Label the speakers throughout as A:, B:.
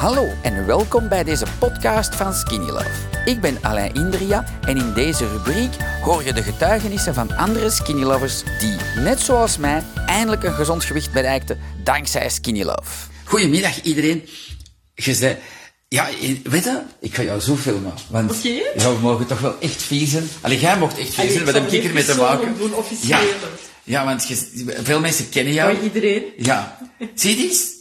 A: Hallo en welkom bij deze podcast van Skinny Love. Ik ben Alain Indria en in deze rubriek hoor je de getuigenissen van andere Skinny Lovers die, net zoals mij, eindelijk een gezond gewicht bereikten dankzij Skinny Love. Goedemiddag iedereen. Je zei, ja, in- weet je, ik ga jou zo filmen. Want
B: Oké.
A: ja, we mogen toch wel echt viezen. Allee, jij mocht echt viezen,
B: Allee, ik
A: wat
B: zal
A: heb ik
B: niet
A: ermee te
B: persoonlijk
A: maken?
B: doen, officieel.
A: ja, ja, want je- veel mensen kennen jou.
B: Van iedereen.
A: Ja. Zie je eens?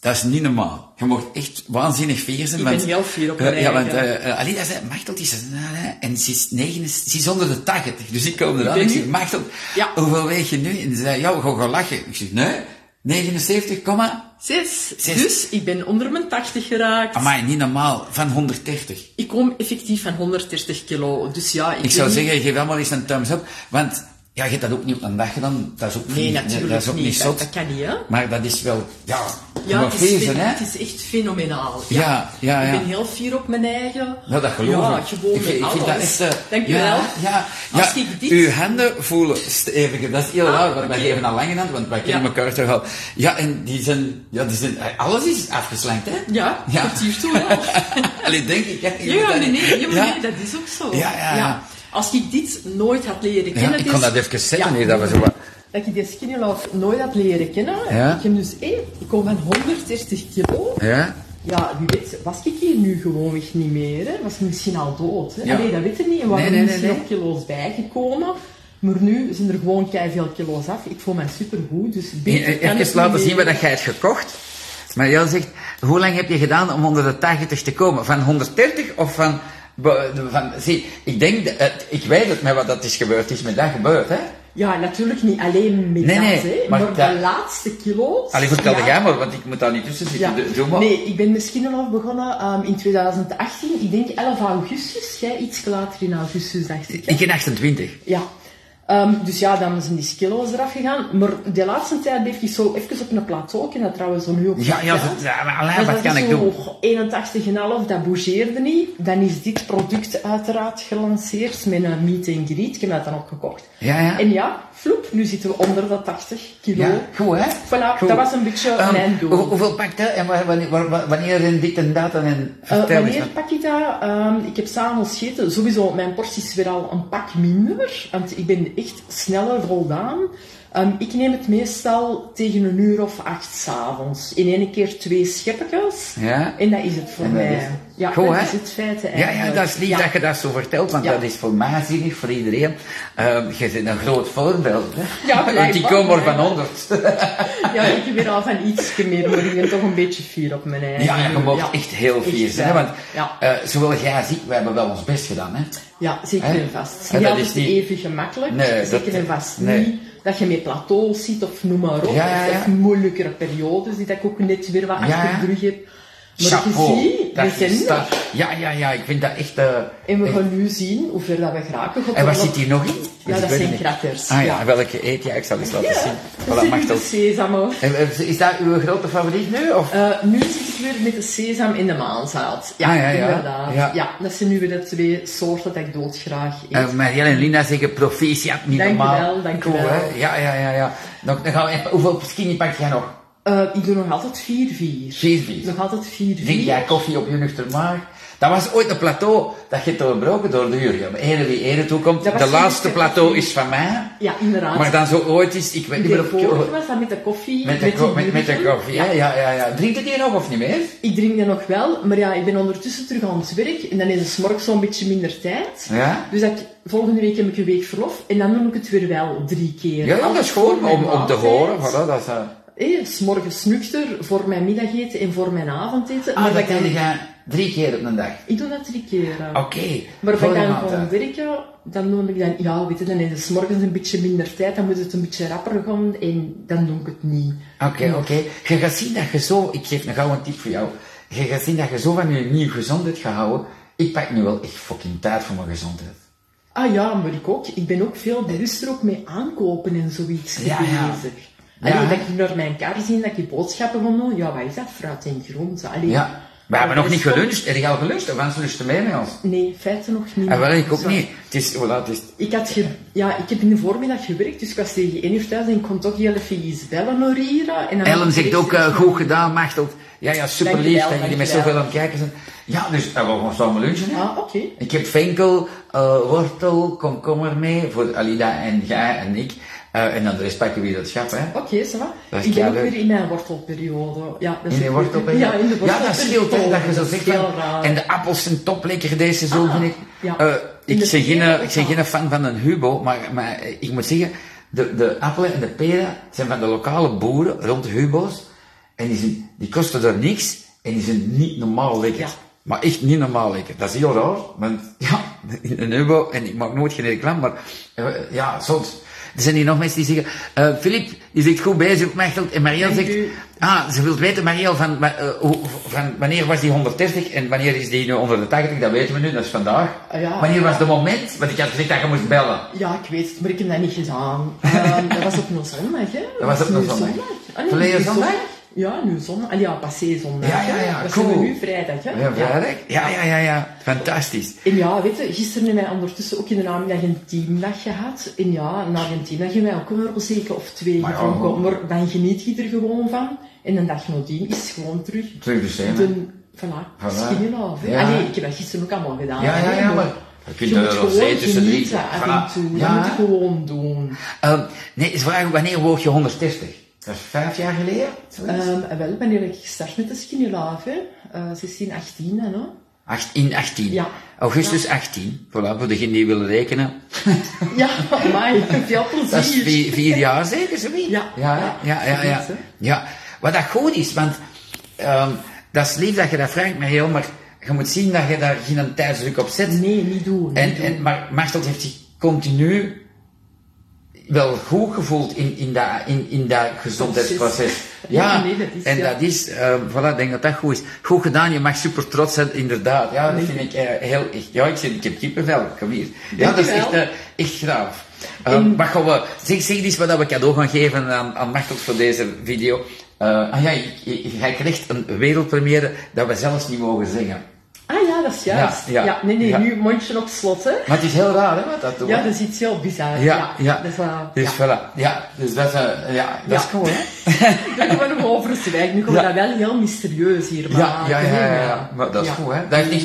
A: Dat is niet normaal. Je mocht echt waanzinnig fier zijn.
B: Ik
A: want,
B: ben heel fier op
A: Eh,
B: mijn
A: Ja, want
B: eigen, ja.
A: eh, eh, Alida zei, Machtel, die is, eh, en ze is, negen, ze is onder de 80. Dus ik kom eraan
B: ben
A: en ik zeg,
B: nu-
A: Machtel,
B: Ja.
A: hoeveel weeg je nu? En ze zei, ja, we gaan gaan lachen. Ik zeg, nee, 79, komma.
B: Zes.
A: Zes.
B: Dus ik ben onder mijn 80 geraakt.
A: Amai, niet normaal, van 130.
B: Ik kom effectief van 130 kilo. Dus ja, ik,
A: Ik zou
B: weet niet-
A: zeggen, geef allemaal eens een thumbs up, want ja, je hebt dat ook niet op een dag gedaan. Dat is ook
B: Nee,
A: niet,
B: natuurlijk
A: dat is ook niet,
B: niet.
A: zot.
B: Dat, dat kan niet, hè?
A: Maar dat is wel, ja, je
B: Ja,
A: mag
B: het is,
A: fier zijn,
B: fen-
A: hè?
B: het is echt fenomenaal.
A: Ja, ja, ja.
B: Ik ben heel fier op mijn eigen.
A: Nou, dat geloof
B: ja,
A: ik.
B: gewoon
A: ik,
B: met
A: ik
B: alles.
A: vind dat echt... eh,
B: Dank je wel.
A: Ja, ja,
B: Als
A: ja,
B: ik dit-
A: Uw handen voelen stevig. Dat is heel
B: Ah,
A: raar, want wij
B: oké.
A: geven al lang in hand, want wij kennen
B: Ja.
A: elkaar toch al. Ja, en die zijn... Ja, die zijn eh, alles is afgeslankt, hè?
B: Ja, tot hiertoe wel.
A: Allee, denk ik, hè?
B: Ja, ja, nee, nee, ja, maar
A: Ja.
B: nee, dat is ook zo.
A: Ja, ja, ja.
B: Als ik dit nooit had leren
A: Ja,
B: kennen...
A: ik
B: dus-
A: kon dat even zeggen
B: Ja.
A: hier, dat we zo wat...
B: Dat ik die skinny love nooit had leren kennen.
A: Ja.
B: Ik heb dus één... Ik kom van 130 kilo.
A: Ja?
B: Ja, wie weet, was ik hier nu gewoonweg niet meer, hè? was ik misschien al dood. Hè?
A: Ja.
B: Allee, dat weet je niet. En we
A: Nee,
B: waren
A: nee, nee,
B: misschien
A: nee.
B: nog kilo's bijgekomen. Maar nu zijn er gewoon veel kilo's af. Ik voel me supergoed, dus beter kan het niet
A: e- Even laten zien
B: meer.
A: wat dat jij hebt gekocht. Maar Jan zegt, hoe lang heb je gedaan om onder de 80 te komen? Van 130 of van... bo- van zie, ik denk, dat- het- ik weet het met wat dat is gebeurd, het is met dat gebeurd, hè?
B: Ja, natuurlijk niet alleen met
A: Nee,
B: dat,
A: nee,
B: hè.
A: maar
B: maar,
A: dat-
B: de laatste kilo's...
A: Allee, vertel
B: ja,
A: jij maar, want ik moet daar niet tussen zitten.
B: Ja.
A: Do- Doe maar.
B: Nee, ik ben misschien al begonnen ehm, in 2018. Ik denk 11 augustus. Jij iets later in augustus, dacht ik. hè?
A: Ik in 28.
B: Ja. Ehm, dus ja, dan zijn die kilo's eraf gegaan. Maar de laatste tijd bleef ik zo even op een plateau. En dat trouwens zo nu op
A: Ja, ja,
B: geld.
A: dat- ja, maar Alain,
B: Dus
A: wat
B: dat
A: kan
B: is
A: ik
B: zo
A: doen?
B: 81,5, dat bougeerde niet. Dan is dit product uiteraard gelanceerd met een meet and greet. Ik heb dat dan ook gekocht.
A: Ja, ja.
B: En ja, floep, nu zitten we onder de 80 kilo.
A: Ja, goed, hè?
B: Voilà,
A: Goed.
B: dat was een beetje
A: Ehm,
B: mijn doel.
A: hoe- hoeveel pakt dat? En wa- wanneer, wa- wa- wanneer in dit en dat? En
B: Eh,
A: vertel eens
B: wanneer
A: wat.
B: pak ik dat? Ehm, ik heb s'avonds gegeten. Sowieso, mijn porties weer al een pak minder. Want ik ben echt sneller voldaan. Ehm, ik neem het meestal tegen een uur of acht s'avonds. In één keer twee scheppetjes.
A: Ja.
B: En dat is het voor
A: En dat
B: mij.
A: is-
B: Ja,
A: Goed,
B: dat
A: hè?
B: is het feit
A: Ja, ja,
B: eigenlijk.
A: dat is lief
B: eh, Ja.
A: dat je dat zo vertelt, want
B: Ja.
A: dat is voor mij zinnig, voor iedereen. Ehm, je bent een groot voorbeeld. Hè?
B: Ja,
A: want die
B: blijkbaar,
A: komen maar van
B: blijkbaar.
A: 100.
B: Ja, ik heb weer al van iets meer, maar ik ben toch een beetje fier op mijn eigen.
A: Ja, ja, je mag echt heel fier
B: Echt,
A: zijn. hè,
B: ja.
A: Want
B: Ja.
A: eh, zowel jij als ik, wij hebben wel ons best gedaan. Hè?
B: Ja, zeker
A: Hè?
B: en vast.
A: Hè,
B: Niet
A: dat
B: altijd
A: is niet-
B: even gemakkelijk.
A: Nee,
B: zeker
A: dat-
B: en vast
A: nee.
B: niet. Dat je met plateaus zit of noem maar op.
A: Ja, ja,
B: Of-
A: ja.
B: Of moeilijkere periodes die dat ik ook net weer wat
A: Ja.
B: achter de rug heb. Maar
A: Chapeau.
B: je ziet,
A: dat
B: we zijn
A: is dat.
B: er.
A: Ja, ja, ja, ik vind dat echt... eh,
B: En we
A: echt-
B: gaan nu zien hoe ver dat we geraken. God,
A: En wat
B: dat-
A: zit hier nog in?
B: Ja,
A: Ik
B: dat
A: weet
B: zijn
A: het niet.
B: kraters.
A: Ah ja, welke eet je? Ik zal eens laten
B: Ja,
A: zien.
B: dat
A: Voilà,
B: zijn dus-
A: mag
B: nu de
A: dat.
B: sesam hoor.
A: En, eh, Is dat uw grote favoriet nu? Of?
B: Eh, nu zit ik weer met de sesam in de maanzaad. Ja,
A: Ah, ja, ja.
B: inderdaad.
A: Ja.
B: Ja. dat zijn nu weer de twee soorten dat ik doodgraag eet.
A: Eh, Marielle en Lina zeggen proficiat, niet
B: Dank je
A: normaal.
B: wel, dank je
A: Cool,
B: wel.
A: hè? Ja, ja, ja. ja. Nog, dan gaan we even, hoeveel skinny pak jij nog?
B: Eh, ik doe nog altijd 4-4.
A: Vier, vier.
B: Nog altijd 4-4.
A: Drink jij koffie op je nuchter maag? Dat was ooit een plateau dat je doorbroken door de jury. Maar ere wie ere toekomt.
B: Dat was
A: De
B: geen
A: laatste
B: nuchter
A: plateau
B: koffie.
A: is van mij.
B: Ja, inderdaad.
A: Maar dan zo ooit is, ik weet niet meer of...
B: Tegenwoordig was dat met de koffie.
A: Met de,
B: die
A: ko- met, met de
B: burger.
A: koffie, ja, ja, ja, ja. Drinkt het hier nog of niet meer?
B: Ik drink dat nog wel, maar ja, ik ben ondertussen terug aan het werk. En dan is het smorgens zo'n beetje minder tijd.
A: Ja.
B: Dus dat ik, volgende week heb ik een week verlof. En dan doe ik het weer wel drie keer.
A: Ja, dat is
B: Altijd
A: gewoon
B: voor mijn
A: om, om te
B: maaltijd.
A: horen. Voilà, dat is, eh.
B: Hé, smorgens nuchter, voor mijn middageten en voor mijn avondeten.
A: Ah, dat
B: ik, dan-
A: kan je drie keer op een dag.
B: ik doe dat drie keer. hè.
A: Oké.
B: Maar als
A: voor
B: ik
A: de
B: dan
A: maaltijd.
B: gewoon werken, dan noem ik dan, ja, weet je, dan is het 's morgens een beetje minder tijd, dan moet het een beetje rapper gaan en dan doe ik het niet.
A: Oké, oké. Je gaat zien dat je zo, ik geef een gauw een tip voor jou. Je gaat zien dat je zo van je nieuwe gezondheid gaat houden. Ik pak nu wel echt fucking tijd voor mijn gezondheid.
B: Ah ja, maar ik ook. Ik ben ook veel bewuster ook mee aankopen en zoiets
A: Ja, ja.
B: bezig.
A: Ja,
B: Allee,
A: hè?
B: dat ik naar mijn kar zie, dat ik boodschappen ga doen. Ja, wat is dat? Fruit en groente. Allee,
A: Ja. We hebben
B: hij
A: nog niet
B: stond-
A: geluncht. Heb je al geluncht? Of anders lunchten mee met ons?
B: Nee, feiten nog niet.
A: En Ah, wel, ik ook
B: Zo.
A: niet. Het is, voilà, het is,
B: Ik, had ge- ja, ik heb in de voormiddag gewerkt, dus ik was tegen één uur thuis en ik kon toch heel even iets bellen naar Ira. En dan
A: Ellen zegt ook, eh, goed gedaan, Machteld. Ja, ja, super lief
B: Dankjewel,
A: dat jullie met
B: dankjewel.
A: zoveel aan het kijken zijn. Ja, dus eh, we gaan samen lunchen. hè.
B: Ah, oké.
A: Ik heb venkel, eh, wortel, komkommer mee voor Alida en jij en ik. Eh, en dan de rest pakken we weer dat schap, hè.
B: Oké, ça va.
A: Dat is
B: Ik ben ook
A: keileuk.
B: weer in mijn wortelperiode. Ja, dat
A: In
B: is
A: de
B: ook-
A: wortelperiode.
B: Ja, in de
A: Ja, dat scheelt hè,
B: wortelperiode.
A: dat je zo
B: Dat
A: zegt.
B: is heel
A: van,
B: raar.
A: En de appels zijn top lekker deze seizoen,
B: Ah,
A: vind ik.
B: ja.
A: Eh,
B: In
A: ik,
B: de
A: ben geen,
B: peren ook
A: ik ben
B: al.
A: geen fan van een Hubo, maar, maar eh, ik moet zeggen, de, de appelen en de peren zijn van de lokale boeren rond Hubo's. En die, zijn, die kosten er niks en die zijn niet normaal lekker.
B: Ja.
A: Maar echt niet normaal lekker. Dat is heel raar, want ja, in een Hubo, en ik maak nooit geen reclame, maar eh, ja, soms. Er zijn hier nog mensen die zeggen, eh Filip, je zit goed bezig, Mechtelt. En Marianne
B: Dank
A: zegt,
B: u.
A: Ah, ze wilt weten, Mariel, van, wa- eh, hoe- van wanneer was die 130 en wanneer is die nu onder de 80? Dat weten we nu, dat is vandaag.
B: Ah, ja.
A: wanneer was het moment? Want ik had gezegd dat je moest bellen.
B: Ja, ik weet het, maar ik heb dat niet gedaan. Ehm, dat was op een zondag, hè?
A: Dat was op
B: nu
A: een zondag.
B: Ah, nee,
A: Verleden
B: nu
A: zondag?
B: Ja, nu zondag. Allee, ja, passé zondag.
A: Ja, ja,
B: hè.
A: ja,
B: Dat
A: cool.
B: zijn we nu vrijdag, hè?
A: Ja, vrijdag? Ja, ja, ja, ja. Fantastisch.
B: En ja, weet je, gisteren hebben wij ondertussen ook in de namiddag een teamdag gehad. En ja, na die teamdag hebben wij ook een rozeke of twee
A: Maar ja,
B: gedronken. Maar dan geniet je er gewoon van. En een dag nadien is gewoon terug
A: Terug dus, hè.
B: de... Voilà,
A: Voilà.
B: skin in love. hè.
A: Ja.
B: Allee, ik heb dat gisteren ook allemaal gedaan.
A: Ja, ja,
B: hè,
A: ja, maar... Je kunt
B: Je moet
A: er nog
B: gewoon
A: steeds tussen drie.
B: genieten af en
A: Voilà.
B: toe. Dat moet
A: Ja.
B: je gewoon doen.
A: Ehm, nee, ze vragen wanneer word je 130? Dat is vijf jaar geleden? zoiets?
B: Ehm, en wel, ben ik gestart met de Skinny Love, hè. Eh, 16, 18, hè, no?
A: Acht- in 18.
B: Ja.
A: Augustus 18. Voilà, voor degenen die willen rekenen.
B: Ja, amai, veel plezier.
A: Dat is vier, vier jaar zeker, zoiets?
B: Ja.
A: Ja, ja, ja. ja,
B: Zoiets, hè.
A: Ja. Wat dat goed is, want ehm, dat is lief dat je dat vraagt, Mariel, maar je moet zien dat je daar geen tijdsdruk op zet.
B: Nee, niet doen. niet
A: En,
B: doen.
A: en, maar Martel heeft zich continu wel goed gevoeld in, in, dat, in, in dat gezondheidsproces. Ja,
B: Ja, nee, dat is,
A: en
B: ja.
A: dat is, eh, voilà, ik denk dat dat goed is. Goed gedaan, je mag super trots zijn, inderdaad. Ja, dat vind ik eh, heel, echt, ja, ik, zit- ik heb kippenvel, kom hier. Ja, dat is echt,
B: Dankjewel.
A: eh, echt graaf. Eh, maar gaan we, zeg, zeg eens wat we cadeau gaan geven aan, aan Martel voor deze video. Eh, ah ja, ik- ik- hij krijgt een wereldpremière dat we zelfs niet mogen zingen.
B: Ah ja, dat is juist.
A: Ja,
B: Ja,
A: ja.
B: nee, nee,
A: Ja.
B: nu mondje op slot, hè.
A: Maar het is heel raar, hè, wat dat doet.
B: Ja,
A: hè?
B: dat is iets heel bizar.
A: Ja, ja.
B: Dat is, eh,
A: Dus
B: ja.
A: voilà. Ja, dus dat is, eh, ja, dat
B: Ja.
A: is cool, hè?
B: Daar gaan we nog over zwijgen. Nu komt
A: Ja.
B: dat wel heel mysterieus hier
A: Ja,
B: maken,
A: ja, ja,
B: hè,
A: ja,
B: maar-
A: ja. Maar dat is
B: Ja.
A: goed, hè? Dat heeft niks...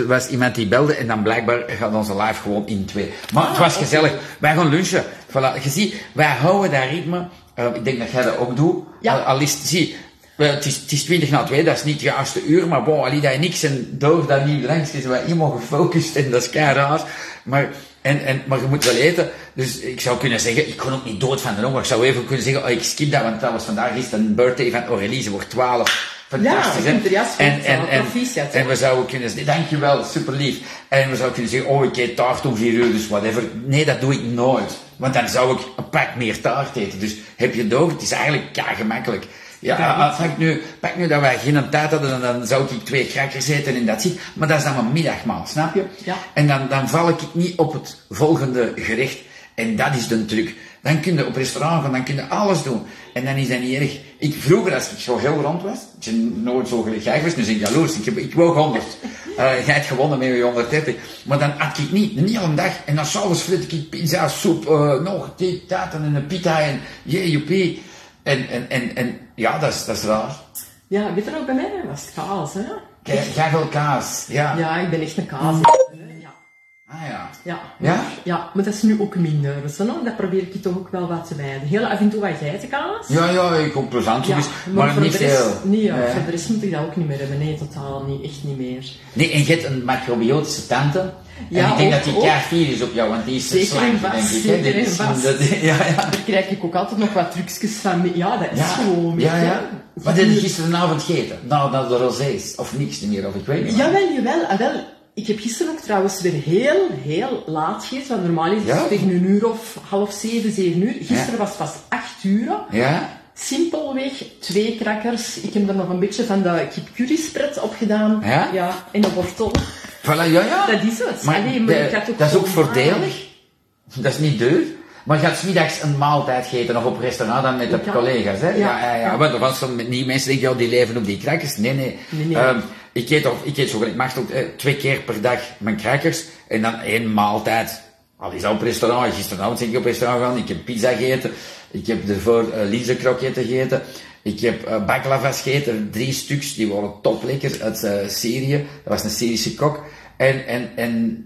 A: Er was iemand die belde en dan blijkbaar gaat onze live gewoon in twee. Maar het was gezellig. Wij gaan lunchen. Voilà. Je ziet, wij houden dat ritme. Eh, ik denk dat jij dat ook doet.
B: Ja.
A: Al, al is het, zie, eh, het is, het is 20 na 2, dat is niet het juiste uur, maar bon, al is dat niks en door dat niet langs is, wij helemaal gefocust en dat is kei raar. Maar, en, en, maar je moet wel eten, dus ik zou kunnen zeggen, ik kon ook niet dood van de honger. Ik zou even kunnen zeggen, oh, ik skip dat, want trouwens vandaag is het een birthday van Aurélie, ze wordt 12. Fantastisch,
B: Ja, ik
A: hè?
B: vind het juist goed,
A: en, en,
B: ja.
A: en,
B: Proficiat, hè?
A: en we zouden kunnen zeggen, dankjewel, super lief. En we zouden kunnen zeggen, oh, ik eet taart om vier uur, dus whatever. Nee, dat doe ik nooit. Want dan zou ik een pak meer taart eten. Dus heb je door, het is eigenlijk ja, gemakkelijk. Ja,
B: Ja,
A: ah, ah, pak nu, pak nu dat wij geen tijd hadden, dan, dan zou ik twee crackers eten en dat zit. Maar dat is dan mijn middagmaal, snap je?
B: Ja.
A: En dan, dan val ik niet op het volgende gerecht. En dat is de truc. Dan kun je op restaurant gaan, dan kun je alles doen. En dan is dat niet erg. Ik, vroeger, als ik zo heel rond was, ik ben nooit zo gelijk was, nu ben ik jaloers. Ik, heb- ik woog 100. Eh, jij hebt gewonnen met je 130. Maar dan at ik niet, niet al een dag. En dan s'avonds flit ik pizza, soep, eh, nog dit, dat en een pita en jee, joepie. En, en, en, en ja, dat is, dat is raar.
B: Ja, weet je nog, bij mij was het kaas, hè.
A: Jij, jij wil kaas, ja.
B: Ja, ik ben echt een kaas. hè. Ja.
A: Ah ja.
B: Ja,
A: Ja?
B: Maar, ja, maar dat is nu ook minder. Dus dan, dat probeer ik je toch ook wel wat te wijden. Heel af en toe wat geitenkaas.
A: Ja, ja, ik kom plezant,
B: Ja,
A: maar, maar
B: voor
A: niet
B: de rest,
A: veel.
B: Nee, ja,
A: Nee.
B: voor de rest moet ik dat ook niet meer hebben. Nee, totaal niet. Echt niet meer.
A: Nee, en je hebt een macrobiotische tante. en
B: Ja,
A: ik denk
B: ook,
A: dat die
B: ook.
A: kaartier is op jou, want die is
B: Zeker
A: slank,
B: en vast,
A: denk ik. hè.
B: zeker
A: Dit
B: en
A: is-
B: vast.
A: dat- ja, ja.
B: Daar krijg ik ook altijd nog wat trucjes van mee. Ja, dat is
A: Ja,
B: gewoon
A: ja,
B: weet je.
A: ja. Wat heb je gisteravond gegeten? Nou, dat de rosés, of niks meer, of ik weet niet. meer.
B: Jawel, jawel. Ah, wel, ik heb gisteren ook trouwens weer heel, heel laat gegeten. Want normaal is het
A: Ja?
B: tegen een uur of half zeven, zeven uur. Gisteren was het pas acht uur.
A: Ja?
B: Simpelweg twee krakkers. Ik heb er nog een beetje van de kipcurry-spread op gedaan.
A: Ja?
B: en een wortel.
A: Voilà, ja, ja.
B: Dat is het.
A: Maar,
B: Allee, maar
A: de-
B: ik had ook
A: dat is ook
B: gewoon-
A: voordelig. Dat is niet duur. Maar je gaat 's middags een maaltijd eten of op restaurant dan met de
B: Ja.
A: collega's, hè?
B: Ja.
A: Ja, ja, ja.
B: Ja.
A: Want want sommige die mensen denken, ja, die leven op die krakers. Nee, nee.
B: Nee, nee.
A: Ehm, ik eet, of, ik eet zo gelijk machteld eh, twee keer per dag mijn krakers en dan één maaltijd. Al is dat op restaurant. Gisteravond ben ik op restaurant gegaan. Ik heb pizza gegeten. Ik heb ervoor eh linzenkroketten gegeten. Ik heb eh baklavas gegeten. Drie stuks. Die waren toplekker uit eh, Syrië. Dat was een Syrische kok. En, en, en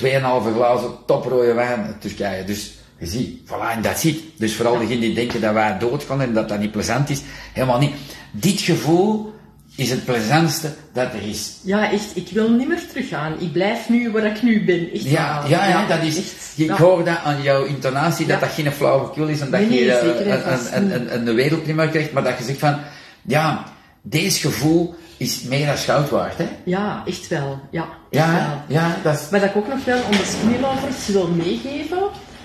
A: 2,5 glazen toprode wijn uit Turkije. Dus je ziet, voilà, en dat ziet. Dus vooral degenen die denken dat wij doodgaan en dat dat niet plezant is, helemaal niet. Dit gevoel is het plezantste dat er is.
B: Ja, echt, ik wil niet meer teruggaan. Ik blijf nu waar ik nu ben. Echt
A: Ja,
B: waar.
A: ja, ja, dat is.
B: echt,
A: Ik
B: ja.
A: hoor dat aan jouw intonatie, dat
B: Ja.
A: dat geen flauwekul is en dat
B: Nee, nee,
A: je eh,
B: zeker en
A: een,
B: vast
A: een,
B: niet.
A: een, een, een wereldnummer krijgt, maar dat je zegt van, ja, deze gevoel is meer dan goud waard, hè?
B: Ja, echt wel. Ja, echt
A: Ja,
B: wel.
A: hè? ja, dat is.
B: Wat ik ook nog wel onder skinnylovers wil meegeven,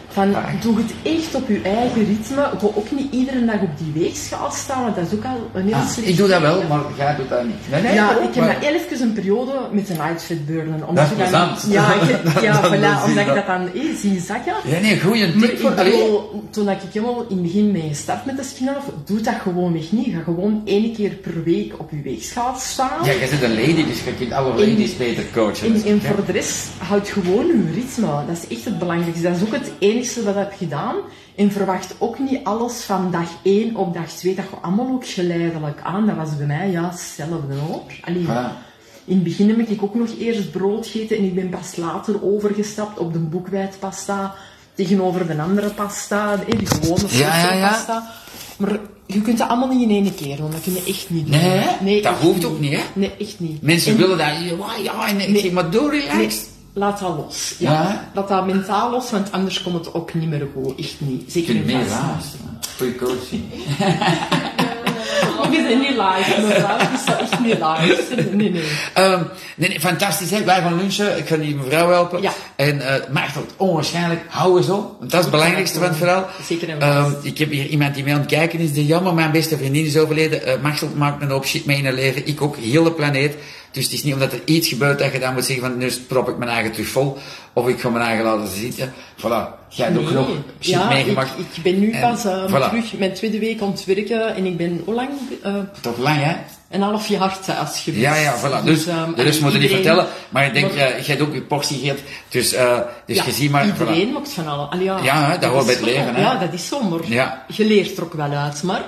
B: van
A: Ah.
B: doe het echt op je eigen ritme. Ga ook niet iedere dag op die weegschaal staan, want dat is ook al een heel
A: Ah,
B: slecht
A: ik doe dat wel,
B: teken.
A: maar jij doet dat niet. Nee, nee,
B: ja,
A: ook,
B: ik heb
A: maar-
B: maar even een periode met een outfit burden.
A: Dat
B: omdat
A: is
B: je dan-
A: plezant.
B: Ja, ik-
A: Dan-
B: ja
A: dan
B: voilà,
A: zie je
B: omdat ik
A: dat.
B: dat dan eh, zie zakken.
A: Ja, nee, goeie
B: Maar
A: tip
B: ik
A: voor alleen.
B: bedoel, toen ik helemaal in het begin mee gestart met de spin-off, doe dat gewoon echt niet. Ga gewoon één keer per week op je weegschaal staan.
A: Ja, jij zit een lady, dus je kunt alle
B: In-
A: ladies beter coachen.
B: En, en
A: Ja.
B: voor de rest, houd gewoon uw ritme. Dat is echt het belangrijkste. Dat is ook het enigste wat ik heb gedaan. En verwacht ook niet alles van dag 1 op dag 2. Dat gaat allemaal ook geleidelijk aan. Dat was bij mij ja, hetzelfde ook. Allee,
A: Ja.
B: In het begin heb ik ook nog eerst brood gegeten en ik ben pas later overgestapt op de boekwijdpasta tegenover de andere pasta, eh, die gewone
A: Ja, ja, ja.
B: pasta. Maar je kunt dat allemaal niet in één keer doen, dat kun je echt niet doen.
A: Nee, dat
B: echt
A: hoeft ook niet, hè?
B: Nee, echt niet.
A: Mensen
B: En-
A: willen dat. Ja, ja, nee, ik zeg maar door,
B: Nee,
A: relaxed.
B: laat dat los. Ja.
A: Ja?
B: Laat dat mentaal los, want anders komt het ook niet meer goed. Echt niet.
A: Je
B: Zeker
A: kunt
B: in
A: meer
B: vast.
A: razen. Goeie coaching.
B: We zijn niet live. maar live is dat echt niet live. Nee, nee.
A: Ehm, nee, nee, fantastisch, hè? wij gaan lunchen. Ik ga die mevrouw helpen.
B: Ja.
A: En eh Maarten, onwaarschijnlijk, hou eens op. Want dat is het belangrijkste van het verhaal.
B: Zeker en
A: Ehm,
B: vast.
A: ik heb hier iemand die mij aan het kijken is. Die jammer, mijn beste vriendin is overleden. Eh Martel maakt me een hoop shit mee in haar leven. Ik ook, heel de planeet. Dus het is niet omdat er iets gebeurt dat je dan moet zeggen van nu prop ik mijn eigen terug vol. Of ik ga mijn eigen laten zitten. Voilà, jij hebt ook
B: Nee.
A: nog shit
B: ja,
A: meegemaakt.
B: Ik, ik ben nu
A: En
B: pas eh,
A: voilà.
B: terug mijn tweede week aan het werken en ik ben hoe lang? Eh,
A: Tot lang hè?
B: een half jaar thuis geweest.
A: Ja, ja, voilà. Dus, dus
B: ehm,
A: de rest moet je niet
B: iedereen-
A: vertellen. Maar ik denk,
B: Maar-
A: eh, jij hebt ook je portie gegeven. Dus, eh dus
B: ja,
A: je ziet maar... voilà.
B: Iedereen maakt van alles. Allee, ja,
A: Ja, hè, dat hoort
B: is
A: bij het
B: zo.
A: leven, hè.
B: Ja, dat is somber.
A: Ja.
B: Je leert er ook wel uit. Maar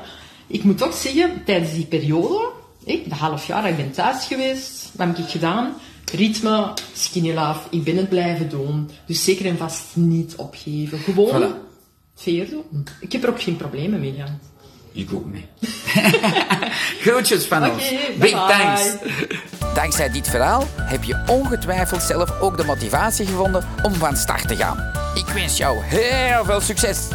B: ik moet toch zeggen, tijdens die periode, ik, de half jaar dat ik ben thuis geweest, wat heb ik gedaan? Ritme, skinny love, ik ben het blijven doen. Dus zeker en vast niet opgeven. Gewoon
A: Voilà.
B: veer doen. Ik heb er ook geen problemen mee, Jan.
A: Ik ook mee. Groetjes van
B: Oké,
A: ons.
B: bye
A: Big
B: bye.
A: thanks.
C: Dankzij dit verhaal heb je ongetwijfeld zelf ook de motivatie gevonden om van start te gaan. Ik wens jou heel veel succes!